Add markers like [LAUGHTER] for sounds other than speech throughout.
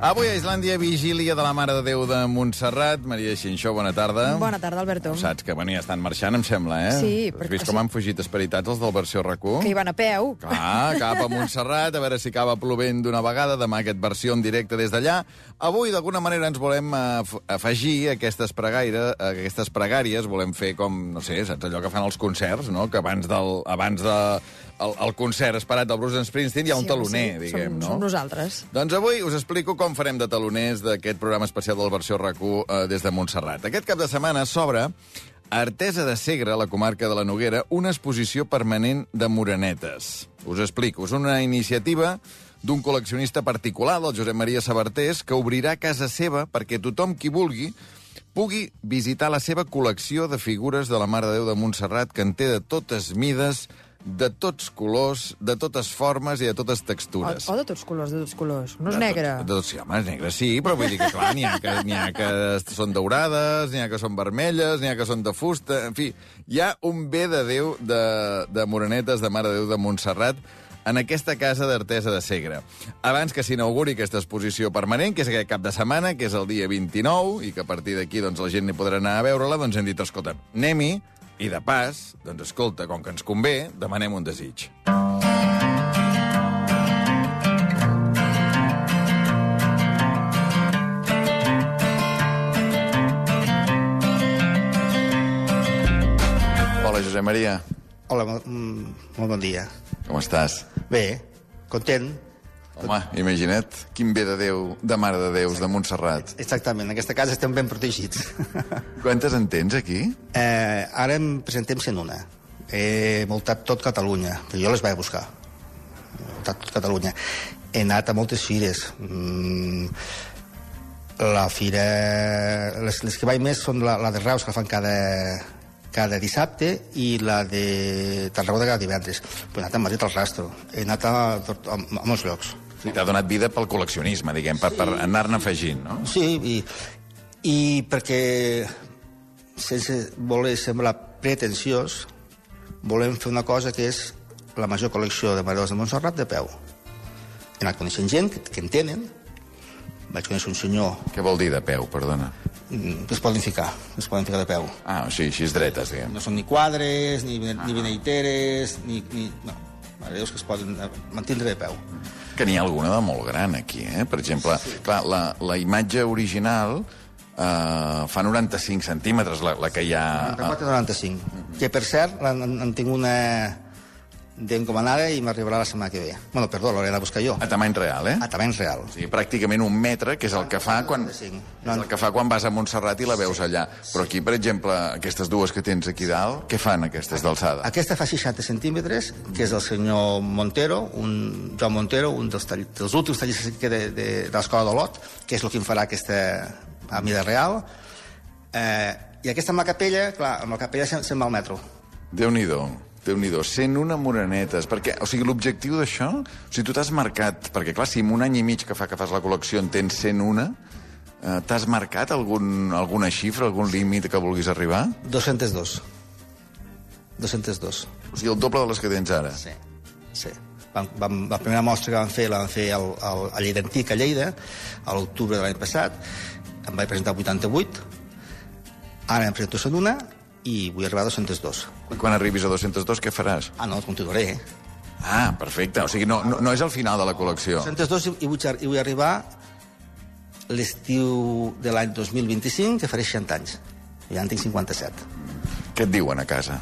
Avui a Islàndia, vigília de la Mare de Déu de Montserrat. Maria Xinxó, bona tarda. Bona tarda, Alberto. Saps que, bueno, ja estan marxant, em sembla, eh? Sí, Has perquè- vist com han fugit esperitats els del versió RAC1? Que hi van a peu. Clar, cap a Montserrat, a veure si acaba plovent d'una vegada, demà aquest versió en directe des d'allà. Avui, d'alguna manera, ens volem eh, af- afegir a aquestes, pregaire, a aquestes pregàries, volem fer com, no sé, saps allò que fan els concerts, no?, que abans del abans de, el, el concert esperat del Bruce Springsteen hi ha un taloner, sí, diguem, som, no? Som nosaltres. Doncs avui us explico com farem de taloners d'aquest programa especial del versió RAC1 eh, des de Montserrat. Aquest cap de setmana s'obre a Artesa de Segre, a la comarca de la Noguera, una exposició permanent de morenetes. Us explico, és una iniciativa d'un col·leccionista particular, del Josep Maria Sabartés, que obrirà casa seva perquè tothom qui vulgui pugui visitar la seva col·lecció de figures de la Mare de Déu de Montserrat, que en té de totes mides, de tots colors, de totes formes i de totes O, textures. o de tots colors, de tots colors. No és De tot- negre. De tot, sí, home, és negre sí, però vull dir que, clar, n'hi ha, que, n'hi ha que són daurades, n'hi ha que són vermelles, n'hi ha que són de fusta... En fi, hi ha un bé de Déu de, de Morenetes, de Mare de Déu de Montserrat, en aquesta casa d'Artesa de Segre. Abans que s'inauguri aquesta exposició permanent, que és aquest cap de setmana, que és el dia 29, i que a partir d'aquí doncs, la gent n'hi podrà anar a veure-la, doncs hem dit, escolta, anem-hi, i de pas, doncs escolta, com que ens convé, demanem un desig. Hola, Josep Maria, Hola, molt, mm, molt bon dia. com estàs? Bé, content. Home, imagina't, quin bé de Déu, de Mare de Déus, de Montserrat. Exactament, en aquesta casa estem ben protegits. [LAUGHS] Quantes en tens, aquí? eh, ara en presentem 101. He voltat tot Catalunya, però jo les vaig buscar. He voltat tot Catalunya. He anat a moltes fires. Mm, la fira... Les, les que vaig més són la, la de Reus, que la fan cada, cada dissabte, i la de Tarragona cada divendres. Però he anat a Madrid al rastro. He anat a, a, a, a molts llocs. Sí. T'ha donat vida pel col·leccionisme, diguem, per, per anar-ne afegint, no? Sí, i, i perquè sense voler semblar pretensiós, volem fer una cosa que és la major col·lecció de mareus de Montserrat de peu. He anat coneixent gent que, que en tenen, vaig conèixer un senyor Què vol dir de peu, perdona? mm, que es poden ficar, que es poden ficar de peu. Ah, o sigui, així és dretes, diguem. No són ni quadres, ni, bene- ni beneiteres, ni, ni... No, mareus que es poden eh, mantindre de peu. Que n'hi ha alguna de molt gran, aquí, eh? Per exemple, sí. clar, la, la imatge original eh, fa 95 centímetres, la, la que hi ha... 94 95. Que, per cert, en, en, en tinc una d'encomanada i m'arribarà la setmana que ve. Bueno, perdó, l'hauré de buscar jo. A tamany real, eh? A tamany real. Sí, pràcticament un metre, que és el que fa quan, és el que fa quan vas a Montserrat i la veus allà. Però aquí, per exemple, aquestes dues que tens aquí dalt, què fan aquestes d'alçada? Aquesta fa 60 centímetres, que és el senyor Montero, un, Joan Montero, un dels, tall, dels últims tallers que de, de, de l'escola d'Olot, que és el que em farà aquesta a mida real. Eh, I aquesta amb la capella, clar, amb la capella se'n se'n va al metro. Déu-n'hi-do. déu nhi déu 101 morenetes. Perquè, o sigui, l'objectiu d'això... O sigui, tu t'has marcat... Perquè, clar, si en un any i mig que fa que fas la col·lecció en tens 101, eh, t'has marcat algun, alguna xifra, algun límit que vulguis arribar? 202. 202. O sigui, el doble de les que tens ara. Sí, sí. Vam, vam, la primera mostra que vam fer la vam fer al, al, a Lleida Antic, a Lleida, a l'octubre de l'any passat. Em vaig presentar 88, ara em presento 101 i vull arribar a 202. I quan arribis a 202, què faràs? Ah, no, continuaré, eh? Ah, perfecte. O sigui, no, no, no és el final de la col·lecció. 202 i vull, ar- i vull arribar l'estiu de l'any 2025, que faré 60 anys. Ja en tinc 57. Què et diuen a casa?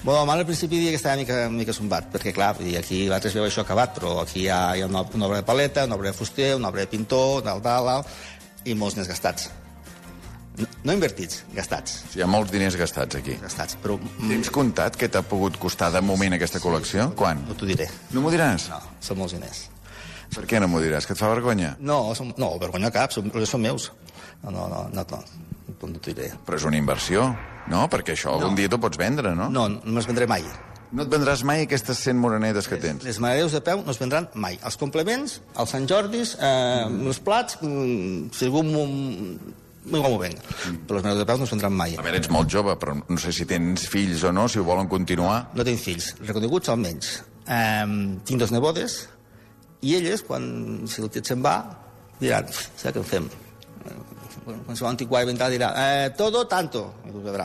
Bueno, mal al principi diria que estava una mica, una mica sombat, perquè clar, vull dir, aquí l'altre es veu això acabat, però aquí hi ha, hi ha una, una obra de paleta, una obra de fuster, una obra de pintor, tal, tal, tal, i molts més gastats. No, no invertits, gastats. Sí, Hi ha molts diners gastats aquí. Gastats, però mm, Tens comptat què t'ha pogut costar de moment aquesta col·lecció? Quan? no t'ho diré. No m'ho diràs? No, són molts diners. Per què no m'ho diràs? Que et fa vergonya? No, són, no vergonya cap, són, són meus. No, no, no, no, no, no t'ho diré. Però és una inversió, no? Perquè això algun dia t'ho pots vendre, no? No, no me'ls vendré mai. No et vendràs mai aquestes 100 morenetes que tens? Les maredeus de peu no es vendran mai. Els complements, els Sant Jordis, eh, Mm-hmm. mm. els plats, mm, si algú m'ho m'ho venc. Mm. Però les maredeus de peu no es vendran mai. Mm-hmm. A veure, ets molt jove, però no sé si tens fills o no, si ho volen continuar. No tinc fills, reconeguts almenys. Eh, tinc dos nebodes, i elles, quan, si el tiet se'n va, diran, ja què en fem? Eh, Bueno, Qualsevol antiquari vendrà i dirà, eh, todo tanto, i tu quedarà.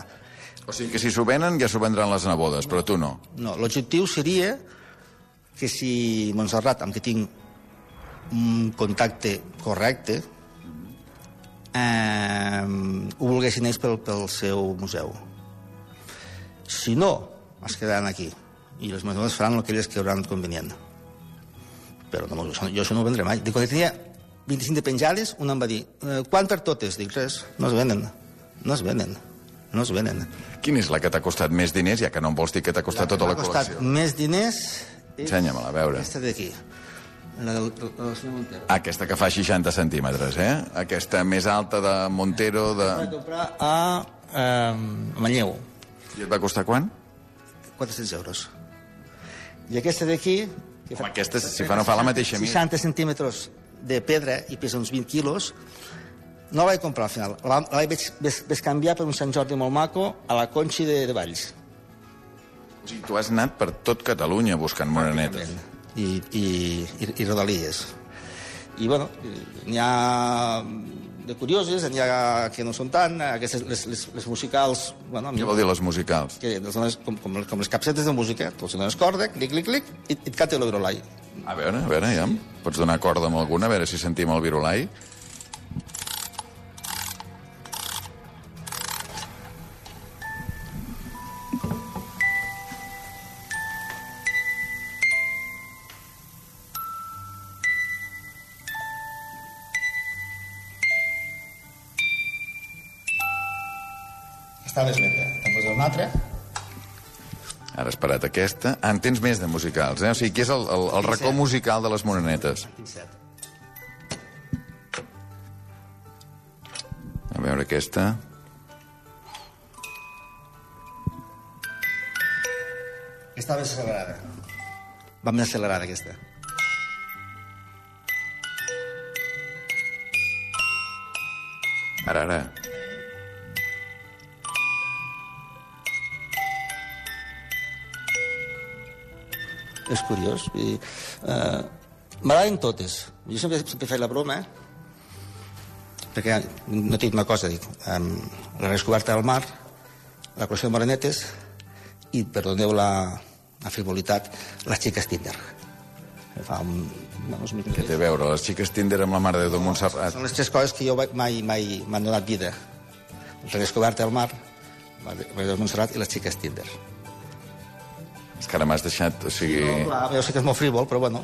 O sigui que si s'ho venen, ja s'ho vendran les nebodes, però tu no. No, l'objectiu seria que si Montserrat, amb qui tinc un contacte correcte, eh, ho volguessin ells pel, pel seu museu. Si no, es quedaran aquí. I les mesures faran el que elles creuran convenient. Però no, jo, jo això no ho vendré mai. Dic, quan tenia 25 de penjades, un em va dir, eh, quant per totes? Dic, res, no es venen. No es venen. No es venen. Quina és la que t'ha costat més diners, ja que no em vols dir que t'ha costat tota la M'ha costat col·lecció? més diners... és Ensenya-me-la, a veure. Aquesta d'aquí. La del, la del senyor Montero. Aquesta que fa 60 centímetres, eh? Aquesta més alta de Montero, de... La vaig comprar a eh, Manlleu. I et va costar quant? 400 euros. I aquesta d'aquí... que Home, aquesta, si fa no fa la mateixa mida. 60 centímetres de pedra i pesa uns 20 quilos, no la vaig comprar al final. La, la vaig, vaig, vaig canviar per un Sant Jordi molt maco a la Conxi de, de Valls. O sigui, tu has anat per tot Catalunya buscant morenetes. i, i, i, i rodalies. I, bueno, i- n'hi ha de curioses, n'hi ha que no són tant, aquestes, les, les, les musicals, bueno, a mi, Què vol dir les musicals? que les dones, com, com, com les capsetes de música, tu els dones corda, clic, clic, clic, i, i et canta l'Eurolai. A veure, a veure, ja. em Pots donar corda amb alguna, a veure si sentim el virulai. Està més neta. Te'n posa una altra. Ara has parat aquesta. Ah, en tens més de musicals, eh? O sigui, que és el, el, el racó musical de les morenetes. Tinc set. A veure aquesta. Està més accelerada. Va més accelerada, aquesta. Ara, ara. És curiós. I, eh, M'agraden totes. Jo sempre, sempre he fet la broma, perquè no tinc una cosa, dic, um, la descoberta del mar, la col·lecció de morenetes i, perdoneu la, la frivolitat, les xiques Tinder. Fa un, uns minuts. Què té a veure? Les xiques Tinder amb la Mare de Déu Montserrat. Són les tres coses que jo vaig- mai mai m'han donat vida. La descoberta del mar, la de la de Montserrat i les xiques Tinder. És que ara m'has deixat, o sigui... Clar, jo sé que és molt frívol, però bueno,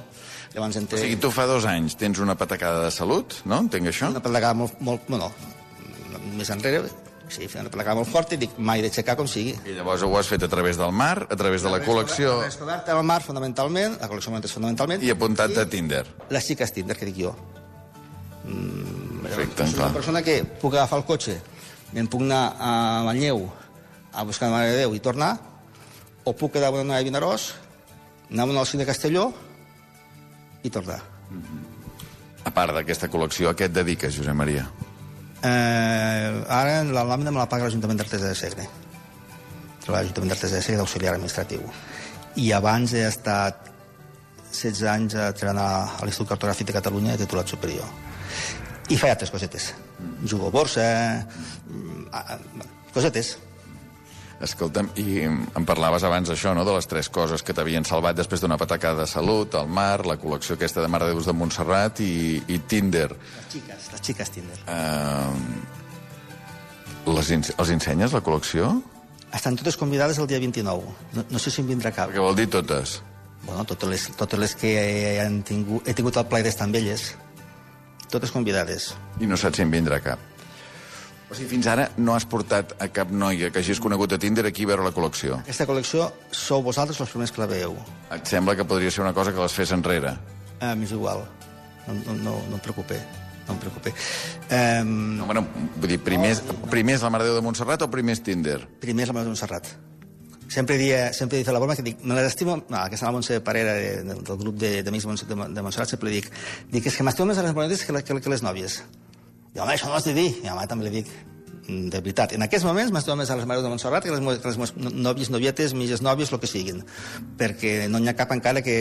llavors Eh. O entenc... sigui, tu fa dos anys tens una patacada de salut, no? Entenc això? una pedregada molt, molt no, no, més enrere, sí, fer una pedregada molt forta i dic, mai d'aixecar com sigui. I llavors ho has fet a través del mar, a través de la col·lecció La descoberta del mar, fundamentalment, la col·lecció monetària, fundamentalment, i apuntat a Tinder. les xiques Tinder, que dic jo. Perfecte, Soc clar. una persona que puc agafar el cotxe, me'n puc anar a Manlleu a buscar la Mare de Déu i tornar, o puc quedar amb una noia a Vinaròs, anar amb una al cine de Castelló i tornar. A part d'aquesta col·lecció, a què et dediques, Josep Maria? Eh, ara la làmina me la paga l'Ajuntament d'Artesa de Segre. Treballa a l'Ajuntament d'Artesa de Segre d'auxiliar administratiu. I abans he estat 16 anys a treballar a l'Institut Cartogràfic de Catalunya de titulat superior. I feia altres cosetes. Jugo a borsa... mm, a- a- Cosetes. Escolta'm, i em parlaves abans això, no?, de les tres coses que t'havien salvat després d'una patacada de salut, el mar, la col·lecció aquesta de Mare de Déus de Montserrat i, i Tinder. Les xiques, les xiques Tinder. Eh, les, ens- els ensenyes, la col·lecció? Estan totes convidades el dia 29. No, no sé si en vindrà cap. Què vol dir totes? Bueno, totes les, totes les que han tingut, he tingut el plaer d'estar amb elles, totes convidades. I no saps si en vindrà cap. O sigui, fins ara no has portat a cap noia que hagis conegut a Tinder aquí a veure la col·lecció. Aquesta col·lecció sou vosaltres els primers que la veieu. Et sembla que podria ser una cosa que les fes enrere? Eh, M'és igual. No, no, no, no em preocupé. No em preocupé. Eh, No, bueno, vull dir, primer, primer és la Mare de Déu de Montserrat o primer és Tinder? primer és la Mare de Montserrat. Sempre dia, sempre dic a la broma que dic, me les estimo... No, aquesta és la Montse Parera, de, del, del grup de- d'amics de, Montse- de, Mon- de Montserrat, sempre li dic, dic, és que m'estimo més a les monedes que, la- que, que les nòvies. I home, això no has de dir. I home, també li dic, "Mm, de veritat, en aquests moments m'estimo més a les mares de Montserrat que a les, mo- que a les meves no- nòvies, novietes, mitges nòvies, el que siguin. Perquè no n'hi ha cap encara que,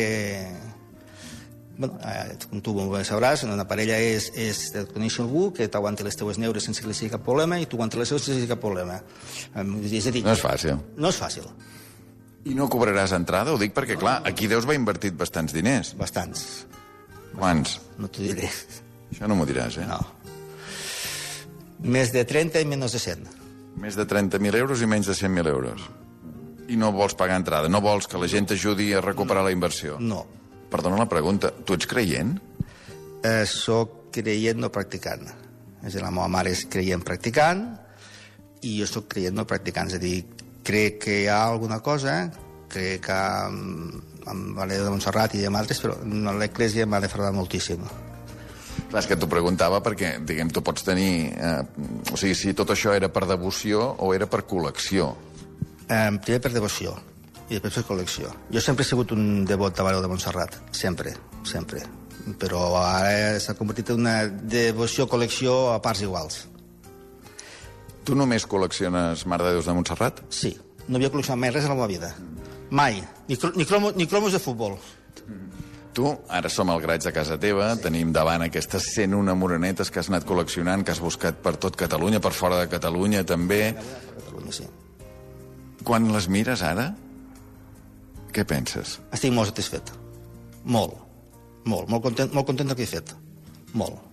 bueno, eh, com tu bé sabràs, una parella és, és conèixer algú que t'aguanti les teues neures sense que li sigui cap problema i tu aguantes les seves sense que sigui cap problema. Em- És a dir, No és fàcil. no és fàcil. I no cobraràs entrada? Ho dic perquè, clar, aquí Déus va invertit bastants diners. Bastants. Quants? No t'ho diré. Això no m'ho diràs, eh? No. Més de 30 i menys de 100. Més de 30.000 euros i menys de 100.000 euros. I no vols pagar entrada, no vols que la gent t'ajudi a recuperar la inversió. No. Perdona la pregunta, tu ets creient? Eh, soc creient no practicant. És a dir, la meva mare és creient practicant i jo sóc creient no practicant. És a dir, crec que hi ha alguna cosa, eh? crec que amb, amb Valera de Montserrat i amb altres, però no, l'Eclèsia m'ha defraudat moltíssim. Clar, és que t'ho preguntava perquè, diguem, tu pots tenir... Eh, o sigui, si tot això era per devoció o era per col·lecció. Eh, primer per devoció i després per col·lecció. Jo sempre he sigut un devot de Valera de Montserrat, sempre, sempre. Però ara s'ha convertit en una devoció-col·lecció a parts iguals. Tu només col·lecciones Mare de Déus de Montserrat? Sí, no havia col·leccionat mai res a la meva vida. Mai. Ni, cro ni, cromo ni cromos de futbol. Tu, ara som al graig de casa teva, sí. tenim davant aquestes 101 morenetes que has anat col·leccionant, que has buscat per tot Catalunya, per fora de Catalunya també. A Catalunya, sí. Quan les mires ara, què penses? Estic molt satisfet. Molt. Molt. Molt content, molt content del que he fet. Molt.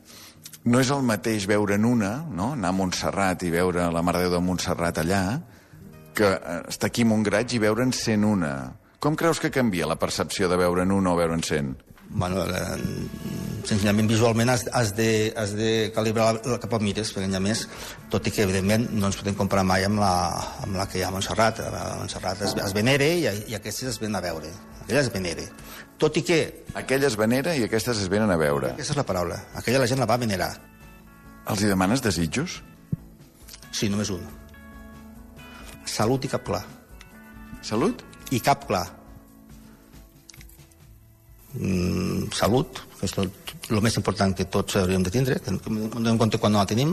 No és el mateix veure en una, no? anar a Montserrat i veure la Mare de Déu de Montserrat allà, que eh, estar aquí a Montgraig i veure'n 101. Com creus que canvia la percepció de veure en una o veure'n 100? Bueno, eh, senzillament visualment has, has, de, has de calibrar la, la cap on mires, perquè a més, tot i que evidentment no ens podem comparar mai amb la, amb la que hi ha a Montserrat. A Montserrat es, es venere i, i aquestes es ven a veure. Aquella es venere. Tot i que... Aquella es venera i aquestes es venen a veure. Aquesta és la paraula. Aquella la gent la va venerar. Els hi demanes desitjos? Sí, només un. Salut i cap clar. Salut? I cap clar. Mm, salut, que és el, el més important que tots hauríem de tindre, que no donem compte quan no la tenim,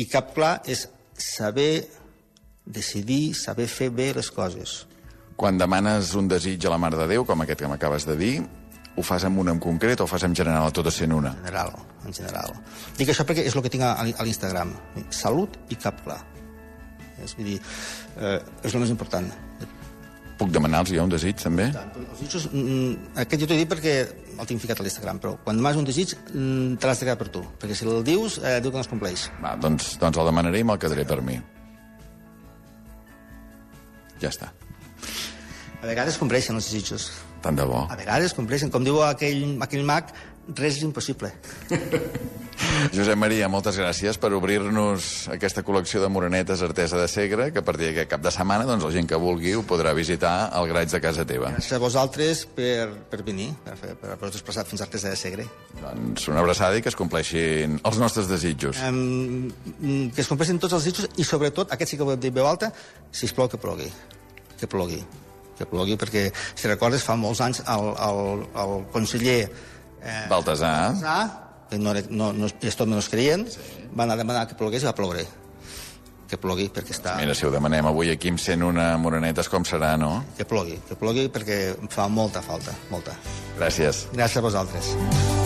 i cap clar és saber decidir, saber fer bé les coses. Quan demanes un desig a la Mare de Déu, com aquest que m'acabes de dir, ho fas amb una en concret o ho fas en general a totes 101? En general, en general. Dic això perquè és el que tinc a, a l'Instagram. Salut i cap clar. És, vull dir, eh, és el més important. Puc demanar-los jo un desig, també? Els desitjos, mm, aquest jo t'ho dic perquè el tinc ficat a l'Instagram, però quan demanes un desig mm, te l'has de quedar per tu, perquè si el dius, eh, diu que no es compleix. Va, doncs, doncs el demanaré i me'l quedaré per mi. Ja està. A vegades compleixen els desitjos. Tant de bo. A vegades compleixen. Com diu aquell, aquell mag, res és impossible. Josep Maria, moltes gràcies per obrir-nos aquesta col·lecció de morenetes artesa de Segre, que a partir d'aquest cap de setmana doncs, la gent que vulgui ho podrà visitar al graig de casa teva. Gràcies a vosaltres per, per venir, per, fer- per haver-vos desplaçat fins a Artesa de Segre. Doncs una abraçada i que es compleixin els nostres desitjos. Em, mm, que es compleixin tots els desitjos i, sobretot, aquest sí que ho hem dit veu alta, si plou que plogui. Que plogui. Que plogui, perquè, si recordes, fa molts anys el, el, el conseller eh, Baltasar, Baltasar, que no, era- no, no és tot menys creient, va anar a demanar que plogués i va ploure. Que plogui perquè està... mira, si ho demanem avui aquí amb 101 morenetes, com serà, no? Que plogui, que plogui perquè em fa molta falta, molta. Gràcies. Gràcies a vosaltres.